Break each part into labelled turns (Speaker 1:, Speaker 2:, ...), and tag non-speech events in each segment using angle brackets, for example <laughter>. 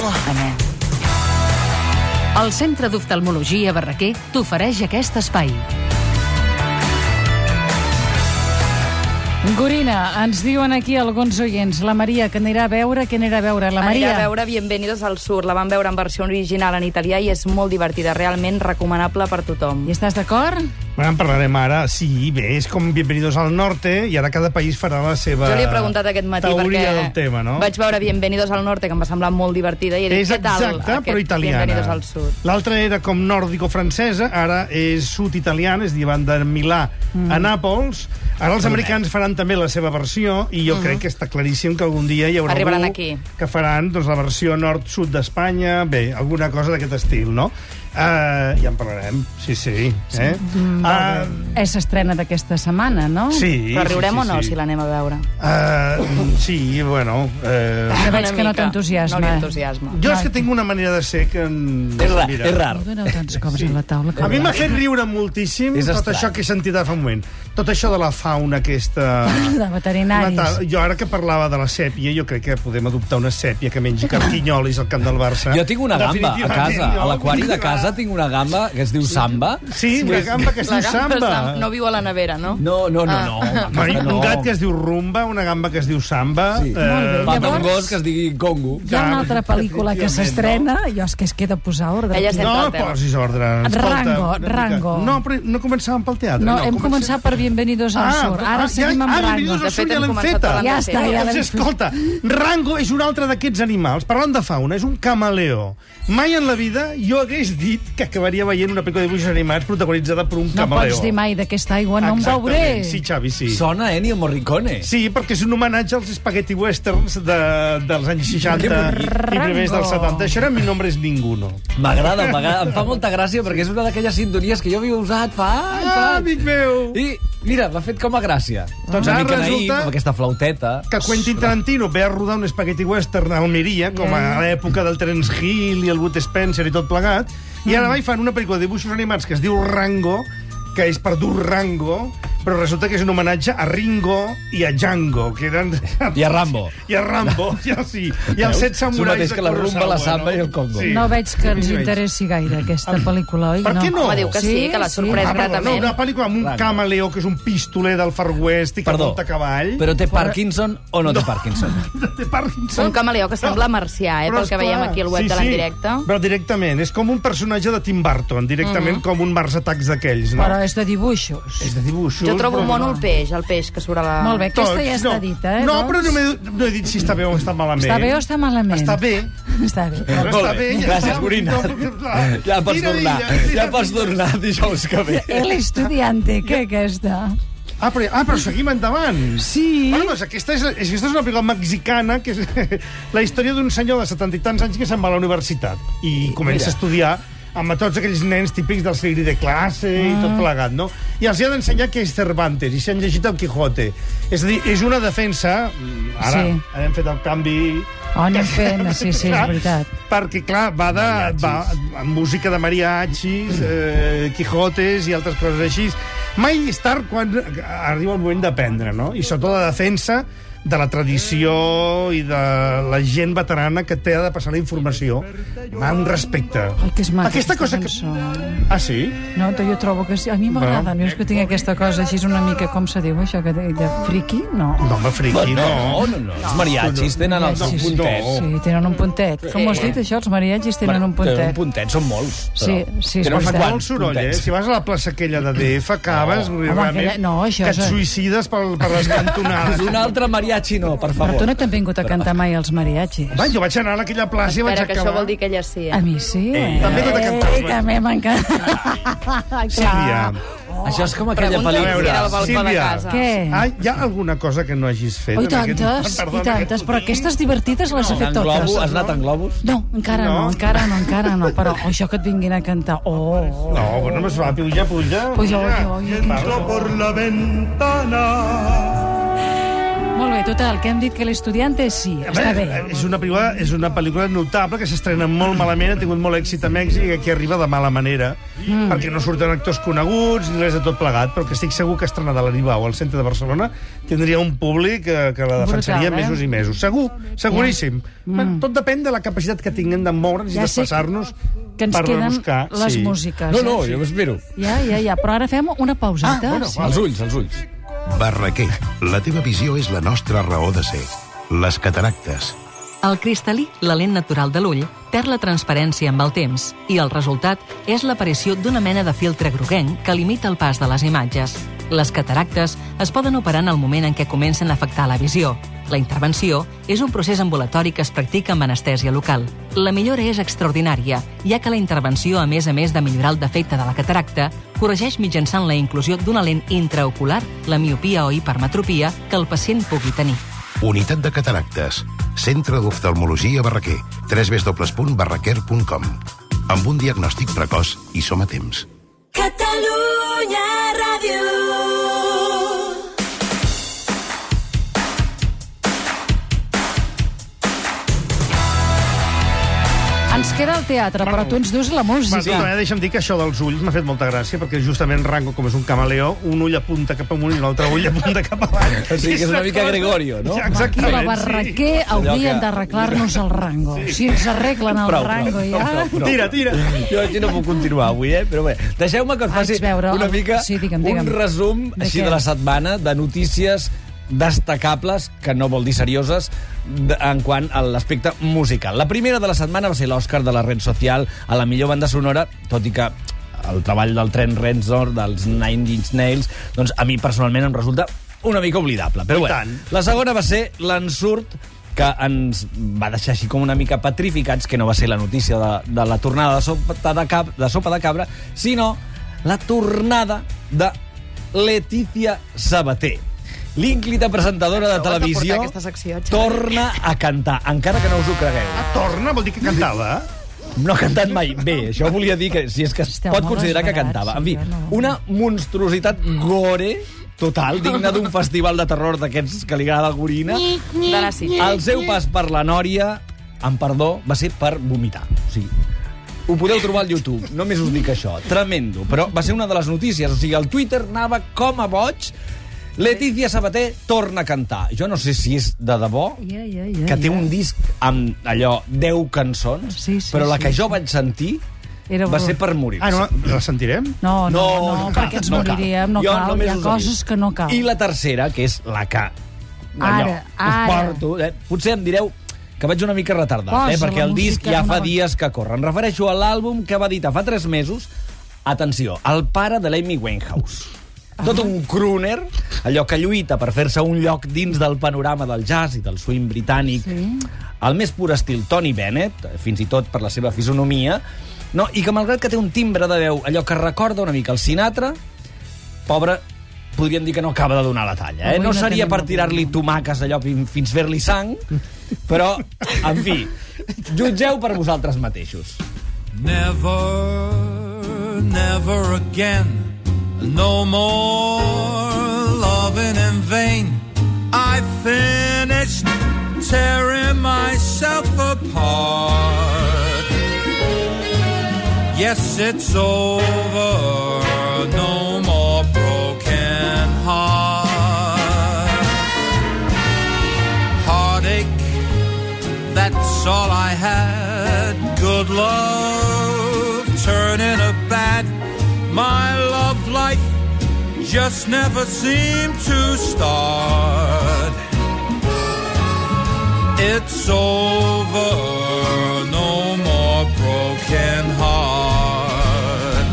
Speaker 1: Guardamar.
Speaker 2: El Centre d'Oftalmologia Barraquer t'ofereix aquest espai.
Speaker 3: Gorina, ens diuen aquí alguns oients, la Maria, que anirà a veure, que anirà a veure? La Maria,
Speaker 4: Anirà a veure Bienvenidos al Sur. La van veure en versió original en italià i és molt divertida, realment recomanable per tothom.
Speaker 3: hi estàs d'acord?
Speaker 5: Bueno, en parlarem ara. Sí, bé, és com Bienvenidos al Norte i ara cada país farà la seva
Speaker 4: Jo li he preguntat aquest matí
Speaker 5: teoria
Speaker 4: perquè
Speaker 5: del tema, no?
Speaker 4: vaig veure Bienvenidos al Norte, que em va semblar molt divertida, i he dit,
Speaker 5: és
Speaker 4: què tal
Speaker 5: exacte,
Speaker 4: aquest
Speaker 5: però italiana.
Speaker 4: Bienvenidos al Sud?
Speaker 5: L'altra era com nòrdico-francesa, ara és sud-italiana, és a dir, van de Milà mm. a Nàpols. Ara els americans faran també la seva versió i jo crec que està claríssim que algun dia hi haurà
Speaker 4: Mm-hmm. Arribaran
Speaker 5: algú
Speaker 4: aquí.
Speaker 5: que faran doncs, la versió nord-sud d'Espanya, bé, alguna cosa d'aquest estil, no? Uh, ja en parlarem, sí, sí. Eh? Uh,
Speaker 3: Eh, S'estrena d'aquesta setmana, no?
Speaker 5: sí,
Speaker 4: Mm. Però riurem
Speaker 5: sí,
Speaker 4: o no,
Speaker 5: sí,
Speaker 4: si l'anem a veure?
Speaker 5: Uh, sí, bueno... Uh...
Speaker 3: Ja veig
Speaker 4: Una
Speaker 3: que no
Speaker 4: mica.
Speaker 3: t'entusiasma.
Speaker 4: No li entusiasma.
Speaker 5: Jo és que tinc una manera de ser que... em-
Speaker 1: És rar,
Speaker 5: Mira.
Speaker 1: és rar.
Speaker 3: No doneu tants cops a la taula.
Speaker 5: A mi m'ha fet riure moltíssim
Speaker 1: És
Speaker 5: tot
Speaker 1: estrany.
Speaker 5: això que he sentit ara fa un moment. Tot això de la fauna
Speaker 4: <laughs>
Speaker 5: aquesta...
Speaker 3: De veterinaris.
Speaker 5: Natal. Jo ara que parlava de la sèpia, jo crec que podem adoptar una sèpia que
Speaker 4: <laughs>
Speaker 5: mengi carquinyolis al camp del Barça.
Speaker 1: Jo tinc una gamba a
Speaker 5: Definitivament,
Speaker 1: casa,
Speaker 5: jo.
Speaker 1: a l'aquari de casa tinc una gamba que es diu Samba.
Speaker 5: Sí, una gamba que es diu
Speaker 4: gamba
Speaker 5: samba.
Speaker 4: està- no viu a la nevera, no?
Speaker 1: No, no,
Speaker 5: <laughs>
Speaker 1: no, no. a
Speaker 5: Bueno,
Speaker 1: casa
Speaker 5: Un gat Ah. que es diu rumba, una gamba que es diu samba... eh,
Speaker 1: Sí. Falta un gos que es digui Congo.
Speaker 3: Hi ha una altra pel·lícula que
Speaker 5: Efectivament,
Speaker 3: s'estrena, jo és que es queda a posar ordre.
Speaker 4: Ella
Speaker 3: aquí.
Speaker 4: sempre
Speaker 5: No
Speaker 4: al terra.
Speaker 5: posis ordre. escolta,
Speaker 3: Rango,
Speaker 5: una mica.
Speaker 3: Rango.
Speaker 5: No, però no començàvem pel teatre.
Speaker 3: No, hem començat per Bienvenidos al Sur. Ara seguim amb
Speaker 5: ah,
Speaker 3: Rango.
Speaker 5: Bienvenidos al
Speaker 4: De
Speaker 5: Sur
Speaker 4: fet,
Speaker 5: ja
Speaker 4: hem
Speaker 5: l'hem
Speaker 4: començat
Speaker 5: feta.
Speaker 4: parlant
Speaker 3: Ja està, ja l'hem
Speaker 5: Doncs, Escolta, Rango és un altre d'aquests animals. Parlant de fauna, és un camaleó. Mai en la vida jo hagués dit que acabaria veient una pel·lícula de dibuixos animats protagonitzada per un
Speaker 3: No
Speaker 5: camaleó.
Speaker 3: pots dir mai d'aquesta aigua, no em
Speaker 5: Exactament.
Speaker 3: veuré.
Speaker 5: Sí, Xavi, sí.
Speaker 1: Sona eh, Ennio Morricone.
Speaker 5: Sí, perquè és un homenatge als spaghetti westerns de, dels anys 60 i
Speaker 1: Que bonic.
Speaker 5: primers dels 70. Això era Mi nombre es ninguno.
Speaker 1: M'agrada, m'agrada. Em fa molta gràcia perquè és una d'aquelles sintonies que jo havia usat fa anys.
Speaker 5: Ah,
Speaker 1: fa anys.
Speaker 5: amic meu!
Speaker 1: I, mira, m'ha fet com a gràcia.
Speaker 5: Doncs
Speaker 1: una
Speaker 5: ara
Speaker 1: mica naïf,
Speaker 5: resulta
Speaker 1: amb aquesta flauteta.
Speaker 5: que Quentin Tarantino ve a rodar un espagueti western a Almeria, com a l'època del Terence Hill i el Wood Spencer i tot plegat, i
Speaker 3: Mm.
Speaker 5: ara mai fan una pel·lícula de dibuixos animats que es diu Rango, que és per dur Rango, però resulta que és un homenatge a Ringo i a Django, que eren...
Speaker 1: I a Rambo.
Speaker 5: I a Rambo, ja sí. I
Speaker 1: Veus?
Speaker 5: els set
Speaker 1: És el
Speaker 5: samurais
Speaker 1: mateix
Speaker 5: de
Speaker 1: que la rumba,
Speaker 5: Kurosawa,
Speaker 1: la samba
Speaker 5: no?
Speaker 1: i el Congo.
Speaker 3: No veig que els interessi gaire aquesta pel·lícula, oi?
Speaker 5: Ah. Per què no?
Speaker 4: Home, diu que sí,
Speaker 3: Sí,
Speaker 4: que la
Speaker 3: sí.
Speaker 4: sorpresa
Speaker 5: Ah, perdó, no,
Speaker 4: gratament.
Speaker 5: una pel·lícula amb un
Speaker 1: Rango.
Speaker 5: camaleó que és un pistoler del Far West i que
Speaker 1: Perdó,
Speaker 5: monta cavall.
Speaker 1: però té Parkinson o no té
Speaker 5: <laughs>
Speaker 1: Parkinson?
Speaker 5: De Parkinson.
Speaker 4: Un camaleó que sembla marcià, eh,
Speaker 5: Però,
Speaker 4: pel que
Speaker 5: esclar,
Speaker 4: veiem aquí al web
Speaker 5: sí,
Speaker 4: de
Speaker 5: sí,
Speaker 4: l'endirecte.
Speaker 5: Però directament, és com un personatge de Tim Burton, directament
Speaker 4: Mm.
Speaker 5: com un Mars Attacks d'aquells, no?
Speaker 3: Però és de dibuixos.
Speaker 5: És de dibuixos.
Speaker 4: Jo trobo
Speaker 5: però
Speaker 4: mono
Speaker 5: no.
Speaker 4: el peix, el peix que surt a la...
Speaker 3: Molt bé,
Speaker 5: Tots,
Speaker 3: aquesta ja està
Speaker 5: no.
Speaker 3: dita, eh?
Speaker 5: No,
Speaker 3: doncs?
Speaker 5: però no he, no he dit si està bé o està malament.
Speaker 3: Està bé o està malament?
Speaker 5: Està bé.
Speaker 3: <laughs> Està bé.
Speaker 5: Però
Speaker 1: Molt
Speaker 5: està
Speaker 1: bé.
Speaker 5: bé, ja
Speaker 1: Gràcies,
Speaker 5: està.
Speaker 1: Gorina.
Speaker 5: No,
Speaker 1: Ja pots
Speaker 5: tira
Speaker 1: tornar,
Speaker 5: d'ella, tira
Speaker 1: ja pots
Speaker 5: d'ella.
Speaker 1: tornar dijous que ve.
Speaker 3: El estudiante, que aquesta.
Speaker 5: Ah, però, ah, però seguim endavant.
Speaker 3: Sí.
Speaker 5: Bueno, doncs aquesta és, és- aquesta és una pel·lícula mexicana, que és <laughs> la història d'un senyor de 70 i tants anys que se'n va a la universitat i comença
Speaker 1: Mira.
Speaker 5: a estudiar amb tots aquells nens típics del segre de classe i tot plegat, no? I els hi ha d'ensenyar que és Cervantes i s'han llegit el Quijote. És a dir, és una defensa... mm, Ara,
Speaker 3: Sí.
Speaker 5: sí. hem fet el canvi...
Speaker 3: On hem fet? Sí, sí, Oh, és
Speaker 5: Clar,
Speaker 3: veritat.
Speaker 5: Perquè, clar, va, de, va amb música de mariachis, eh, Quijotes i altres coses així. Mai és tard quan arriba el moment d'aprendre, no? I sobretot la defensa de la tradició i de la gent veterana que té de passar la informació amb respecte.
Speaker 3: Ai, que és maca
Speaker 5: Aquesta cosa que...
Speaker 3: cançó.
Speaker 5: Ah, sí?
Speaker 3: No, jo trobo que sí. A mi m'agrada, no és que tinc aquesta cosa així, és una mica, com se diu això, que de, de friki? No.
Speaker 5: No, home, friqui, no.
Speaker 1: No, no, no. Els mariachis tenen els
Speaker 3: Sí, sí,
Speaker 1: puntets.
Speaker 3: Sí, tenen un puntet. Com ho has dit, això? Els mariatges tenen un puntet.
Speaker 1: Tenen un puntet, són molts.
Speaker 3: Sí,
Speaker 1: però.
Speaker 3: sí, és
Speaker 1: Tenen
Speaker 3: veritat.
Speaker 1: uns
Speaker 5: Fa
Speaker 1: quants
Speaker 5: molt soroll, eh?
Speaker 1: puntets.
Speaker 5: Si vas a la plaça aquella de DF, acabes... No,
Speaker 3: aquella- no, això
Speaker 5: que
Speaker 3: és-
Speaker 5: et suïcides per, per
Speaker 1: <laughs>
Speaker 5: les cantonades.
Speaker 1: Un altre mariachi no, per favor.
Speaker 3: Tu no t'han vingut a cantar mai els mariatges.
Speaker 5: Va, jo vaig anar a aquella plaça i vaig
Speaker 4: Espera, que
Speaker 5: acabar...
Speaker 4: això vol dir que ella sí, eh?
Speaker 3: A mi sí. Eh?
Speaker 5: També t'ha de cantar els
Speaker 3: Ei, també m'encanta.
Speaker 5: Sílvia,
Speaker 1: Això és com aquella
Speaker 4: Pregunta
Speaker 5: A
Speaker 4: si
Speaker 5: veure,
Speaker 4: era el
Speaker 1: pel·lícula...
Speaker 4: balcó de
Speaker 5: Sílvia.
Speaker 4: casa.
Speaker 3: Què?
Speaker 5: ah, hi ha alguna cosa que no hagis fet?
Speaker 3: Oh, I
Speaker 5: en aquest-
Speaker 3: tantes,
Speaker 5: Perdona,
Speaker 3: i tantes,
Speaker 5: aquest-
Speaker 3: però aquestes divertides les he fet
Speaker 1: En globo,
Speaker 3: totes.
Speaker 1: has anat en globus?
Speaker 3: No, encara no,
Speaker 5: No?
Speaker 3: encara no, encara no, però oh, això que et vinguin a cantar. Oh,
Speaker 5: No, bueno, més va, puja, puja.
Speaker 3: Puja, puja, puja, que-
Speaker 5: Perdó.
Speaker 6: por la ventana
Speaker 3: Molt bé, total, que hem dit que l'estudiante sí, Eh, està bé.
Speaker 5: Eh, És una, pel·lícula, és una pel·lícula notable que s'estrena molt malament, ha tingut molt èxit a Mèxic i aquí arriba de mala manera, mm. perquè no surten actors coneguts ni res de tot plegat, però que estic segur que estrenada a la Ribau al centre de Barcelona tindria un públic que, que la defensaria
Speaker 3: Brutal, eh?
Speaker 5: Brutal, mesos i mesos. Segur, seguríssim. Mm. Tot depèn de la capacitat que tinguem de moure'ns
Speaker 3: Ja
Speaker 5: i
Speaker 3: sé
Speaker 5: desplaçar-nos
Speaker 3: que ens
Speaker 5: per
Speaker 3: queden
Speaker 5: rebuscar.
Speaker 3: les músiques. eh?
Speaker 1: No, no, jo m'espero.
Speaker 3: Ja, ja, ja, però ara fem una pauseta.
Speaker 5: Ah, bueno,
Speaker 3: sí.
Speaker 5: va.
Speaker 1: Els ulls, els ulls.
Speaker 6: Barraquer, la teva visió és la nostra raó de ser. Les cataractes.
Speaker 7: Al cristal·lí, la lent natural de l'ull perd la transparència amb el temps i el resultat és l'aparició d'una mena de filtre groguenc que limita el pas de les imatges. Les cataractes es poden operar en el moment en què comencen a afectar la visió. La intervenció és un procés ambulatori que es practica amb anestèsia local. La millora és extraordinària, ja que la intervenció, a més a més de millorar el defecte de la cataracta, corregeix mitjançant la inclusió d'una lent intraocular, la miopia o hipermetropia, que el pacient pugui tenir.
Speaker 6: Unitat de cataractes. Centre d'oftalmologia Barraquer. www.barraquer.com Amb un diagnòstic precoç i som a temps.
Speaker 8: Catalunya Ràdio.
Speaker 3: Ens queda el teatre, però tu ens dus la
Speaker 5: Va, sí,
Speaker 3: música.
Speaker 5: eh? Deixa'm dir que això dels ulls m'ha fet molta gràcia, perquè justament Rango, com és un camaleó, un ull apunta cap amunt i l'altre ull apunta cap avall.
Speaker 1: O sigui que és una mica Gregorio, no?
Speaker 3: Aquí
Speaker 5: Exactament,
Speaker 3: la Barraquer haurien
Speaker 1: que-
Speaker 3: d'arreglar-nos el rango. Si ens arreglen el
Speaker 1: Prou, prou,
Speaker 3: rango
Speaker 1: prou,
Speaker 3: ja...
Speaker 1: prou, prou.
Speaker 5: Tira, tira.
Speaker 1: Jo aquí no puc continuar avui, eh? Però bé, deixeu-me que us
Speaker 3: Vaig
Speaker 1: faci
Speaker 3: veure
Speaker 1: una
Speaker 3: el-
Speaker 1: mica
Speaker 3: sí, digue'm, digue'm.
Speaker 1: un resum
Speaker 3: De
Speaker 1: així
Speaker 3: què?
Speaker 1: de la setmana de notícies destacables, que no vol dir serioses, de- en quant a l'aspecte musical. La primera de la setmana va ser l'Oscar de la Red Social a la millor banda sonora, tot i que el treball del tren Renzor, dels Nine Inch Nails, doncs a mi personalment em resulta una mica oblidable. Però bé,
Speaker 5: tant.
Speaker 1: la segona va ser l'ensurt que ens va deixar així com una mica petrificats, que no va ser la notícia de, de la tornada de sopa de, cab, de sopa de cabra, sinó la tornada de Letícia Sabater. L'ínclita presentadora de
Speaker 4: Ho has de
Speaker 1: televisió
Speaker 4: portar, aquesta secció, Xavi.
Speaker 1: torna a cantar, encara que no us ho cregueu.
Speaker 5: Torna, vol dir que cantava.
Speaker 1: No ha cantat mai bé, això volia dir que si és que es
Speaker 3: Esteu
Speaker 1: pot
Speaker 3: molt
Speaker 1: considerar que
Speaker 3: desbarats,
Speaker 1: cantava. En fi,
Speaker 3: jo no.
Speaker 1: una monstruositat gore total, digna d'un festival de terror d'aquests que li agrada la gorina.
Speaker 4: De la Cid.
Speaker 1: El seu pas per la Nòria, amb perdó, va ser per vomitar. O sigui, ho podeu trobar al YouTube, només us dic això. Tremendo, però va ser una de les notícies. O sigui, el Twitter anava com a boig. Letícia Sabater torna a cantar. Jo no sé si és de debò,
Speaker 3: Ja, ja, ja,
Speaker 1: que té
Speaker 3: ja.
Speaker 1: un disc amb allò 10 cançons,
Speaker 3: Sí, sí,
Speaker 1: però la
Speaker 3: sí,
Speaker 1: que
Speaker 3: sí.
Speaker 1: jo vaig sentir
Speaker 3: Era
Speaker 1: va
Speaker 3: horror.
Speaker 1: ser per morir.
Speaker 5: Ah, no, la sentirem?
Speaker 3: No, no, no,
Speaker 1: No, no
Speaker 3: perquè
Speaker 1: cal,
Speaker 3: ens
Speaker 1: no cal.
Speaker 3: moriríem, no
Speaker 1: Jo
Speaker 3: cal.
Speaker 1: només
Speaker 3: Hi ha
Speaker 1: us ho
Speaker 3: coses
Speaker 1: dic.
Speaker 3: que no cal.
Speaker 1: I la tercera, que és la que...
Speaker 3: Ara, ara.
Speaker 1: Us porto, eh? Potser em direu que vaig una mica retardat,
Speaker 3: Posa
Speaker 1: eh? perquè
Speaker 3: la
Speaker 1: el disc
Speaker 3: música
Speaker 1: ja
Speaker 3: d'una
Speaker 1: fa
Speaker 3: vegada.
Speaker 1: dies que corre. Em refereixo a l'àlbum que va editar fa 3 mesos, atenció, el pare de l'Amy Winehouse. Tot un crooner, allò que lluita per fer-se un lloc dins del panorama del jazz i del swing britànic, sí. al més pur estil Tony Bennett, fins i tot per la seva fisonomia, no? i que malgrat que té un timbre de veu, allò que recorda una mica el Sinatra, pobre, podríem dir que no acaba de donar la talla. Eh?
Speaker 3: Avui
Speaker 1: No
Speaker 3: no
Speaker 1: seria
Speaker 3: tenim
Speaker 1: per
Speaker 3: la
Speaker 1: tirar-li tomaques allò fin- fins fer-li sang, però, en fi, jutgeu per vosaltres mateixos.
Speaker 9: Never, never again. No more loving in vain. I finished tearing myself apart. Yes, it's over. No more broken heart. Heartache that's all I had. Good love turning a bad. My love life just never seemed to start. It's over, no more broken heart.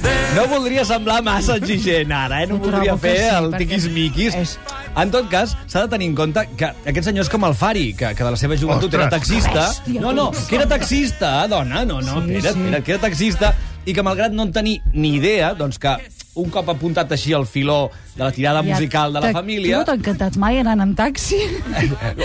Speaker 9: There-
Speaker 1: No voldria semblar massa exigent ara, eh? No
Speaker 3: Ho trobo
Speaker 1: voldria
Speaker 3: que
Speaker 1: fer
Speaker 3: sí,
Speaker 1: el
Speaker 3: perquè
Speaker 1: tiquis-miquis.
Speaker 3: és-
Speaker 1: En tot cas, s'ha de tenir en compte que aquest senyor és com el Fari, que, que de la seva joventut era
Speaker 5: Ostres.
Speaker 1: taxista. No, no, que era taxista, eh, dona, no, no,
Speaker 3: Sí,
Speaker 1: espera't,
Speaker 3: sí.
Speaker 1: espera't, que era taxista, i que malgrat no en tenir ni idea, doncs que un cop apuntat així al filó de la tirada
Speaker 3: Ja
Speaker 1: musical de la
Speaker 3: t'ha- Tu
Speaker 1: família...
Speaker 3: no t'ha encantat mai anant en taxi?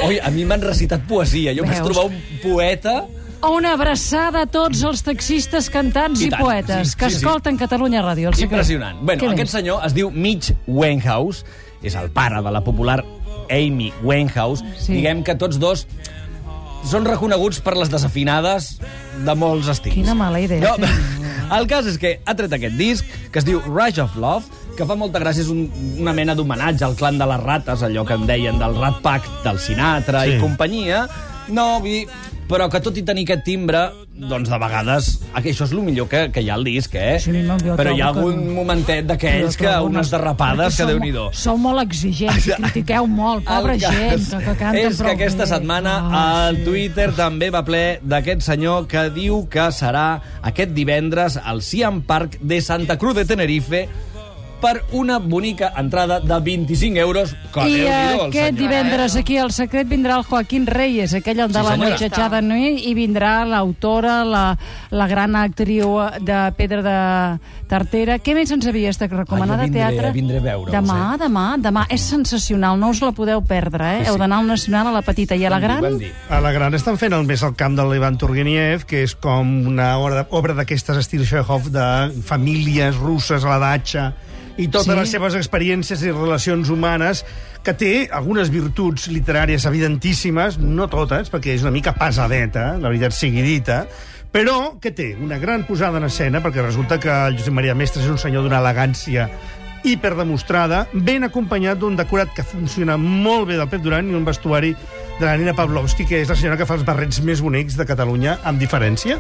Speaker 1: Oi, a mi m'han recitat poesia. Jo em vaig
Speaker 3: Veus?
Speaker 1: trobar un poeta...
Speaker 3: Una abraçada a tots els taxistes, cantants
Speaker 1: I
Speaker 3: i,
Speaker 1: tant,
Speaker 3: poetes
Speaker 1: sí,
Speaker 3: que
Speaker 1: sí, sí.
Speaker 3: escolten Catalunya Ràdio. El secret.
Speaker 1: Impressionant. Bueno,
Speaker 3: Què
Speaker 1: aquest
Speaker 3: més?
Speaker 1: senyor es diu Mitch Wenhouse, és el pare de la popular Amy Winehouse,
Speaker 3: Sí.
Speaker 1: sí. diguem que tots dos són reconeguts per les desafinades de molts estils.
Speaker 3: Quina mala idea. eh?
Speaker 1: No, <laughs> el cas és que ha tret aquest disc, que es diu Rush of Love, que fa molta gràcia, és un, una mena d'homenatge al clan de les rates, allò que en deien del Rat Pack, del Sinatra
Speaker 5: Sí.
Speaker 1: sí. i companyia. No, vull dir, però que tot i tenir aquest timbre, doncs de vegades això és el millor que, que hi ha al disc, eh?
Speaker 3: Sí, no, jo
Speaker 1: però hi ha
Speaker 3: trobo que-
Speaker 1: algun momentet d'aquells que unes derrapades que
Speaker 3: Perquè
Speaker 1: déu
Speaker 3: sou
Speaker 1: nhi
Speaker 3: mo- Sou molt exigents,
Speaker 1: <laughs>
Speaker 3: i critiqueu molt, pobra
Speaker 1: el cas
Speaker 3: gent, que, que canta
Speaker 1: és que aquesta setmana
Speaker 3: Ah,
Speaker 1: el Twitter també va ple d'aquest senyor que diu que serà aquest divendres al Siam Park de Santa Cruz de Tenerife per una bonica entrada de 25 euros. Que
Speaker 3: I
Speaker 1: Déu-n'hi-do, el
Speaker 3: aquest
Speaker 1: senyor, eh?
Speaker 3: divendres aquí al secret vindrà el Joaquín Reyes, aquell el de
Speaker 1: Sí,
Speaker 3: la
Speaker 1: senyora.
Speaker 3: motxatxada Noé, i vindrà l'autora, la, la gran actriu de Pedra de Tartera. Què més ens havia estat recomanada
Speaker 1: Ah, jo vindré,
Speaker 3: a teatre?
Speaker 1: vindré a veure-us,
Speaker 3: Demà,
Speaker 1: eh?
Speaker 3: demà, demà. És sensacional, no us la podeu perdre, eh?
Speaker 1: Sí, sí.
Speaker 3: Heu d'anar al Nacional a la petita i a la
Speaker 1: Van dir,
Speaker 3: gran...
Speaker 1: van dir.
Speaker 5: A la Gran estan fent el més al camp de l'Ivan Turgeniev, que és com una obra, obra d'aquestes estil Chekhov de famílies russes a la datxa i totes
Speaker 3: Sí.
Speaker 5: sí. les seves experiències i relacions humanes, que té algunes virtuts literàries evidentíssimes, no totes, perquè és una mica pesadeta, la veritat sigui dita, però que té una gran posada en escena, perquè resulta que el Josep Maria Mestres és un senyor d'una elegància hiperdemostrada, ben acompanyat d'un decorat que funciona molt bé del Pep Duran i un vestuari de la Nina Pavlovsky, que és la senyora que fa els barrets més bonics de Catalunya, amb diferència,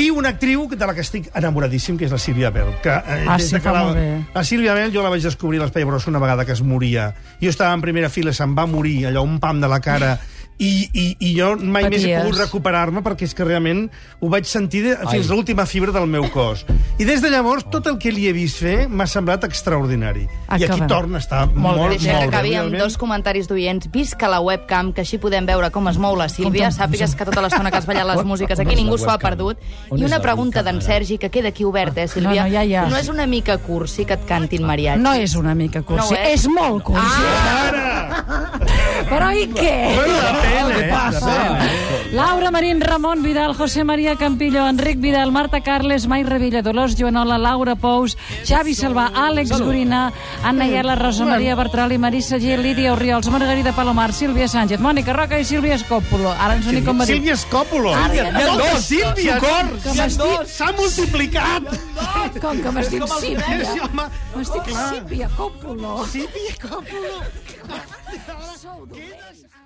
Speaker 5: i una actriu de la que estic enamoradíssim, que és la Sílvia Bell, que eh,
Speaker 3: Ah,
Speaker 5: des
Speaker 3: sí,
Speaker 5: de que
Speaker 3: fa
Speaker 5: la,
Speaker 3: molt bé.
Speaker 5: la Sílvia Bell jo la vaig descobrir a l'Espai Brossa una vegada que es moria. Jo estava en primera fila, se'n va morir, allò, un pam de la cara... I, i, i jo mai més he
Speaker 3: Paties.
Speaker 5: pogut recuperar-me perquè és que realment ho vaig sentir de, fins a l'última fibra del meu cos. I des de llavors tot el que li he vist fer m'ha semblat extraordinari. I
Speaker 3: Acabem.
Speaker 5: aquí torna a estar molt, molt,
Speaker 4: Deixa que
Speaker 5: molt
Speaker 4: acabi amb dos comentaris d'oients. Visca la webcam, que així podem veure com es mou la Sílvia. Sàpigues que tota l'estona que has ballat les músiques aquí
Speaker 1: on és
Speaker 4: ningú
Speaker 1: la
Speaker 4: s'ho ha
Speaker 1: webcam?
Speaker 4: perdut.
Speaker 1: On
Speaker 4: I
Speaker 1: és
Speaker 4: una
Speaker 1: la
Speaker 4: pregunta
Speaker 1: webcam,
Speaker 4: d'en
Speaker 1: ara?
Speaker 4: Sergi, que queda aquí oberta, eh, Sílvia?
Speaker 3: No, no, ja, ja.
Speaker 4: No és una mica cursi que et cantin mariachi?
Speaker 3: No és una mica cursi,
Speaker 4: No ho és?
Speaker 3: és molt cursi. Ah! Però i què?
Speaker 5: Bueno, depèn, eh?
Speaker 3: Ah. Laura Marín, Ramon Vidal, José María Campillo, Enric Vidal, Marta Carles, Mai Revilla, Dolors Joanola, Laura Pous, Xavi Salvà, Àlex Gorina, Anna Iela, Rosa Maria Bertroli, Marisa Gil, Lídia Oriols, Margarida Palomar, Sílvia Sánchez, Mònica Roca i Sílvia Escòpolo. Ara ens unic com va dir.
Speaker 5: Sílvia Escòpolo. Sílvia,
Speaker 1: hi ha
Speaker 5: Tota
Speaker 1: dos.
Speaker 5: Sílvia,
Speaker 1: Socors,
Speaker 5: Sílvia, s'ha multiplicat.
Speaker 3: Com que m'has dit
Speaker 5: Sí,
Speaker 3: Sílvia?
Speaker 5: home.
Speaker 3: M'has dit Sílvia Còpolo.
Speaker 5: Sílvia Escòpolo.
Speaker 3: Sou dolents.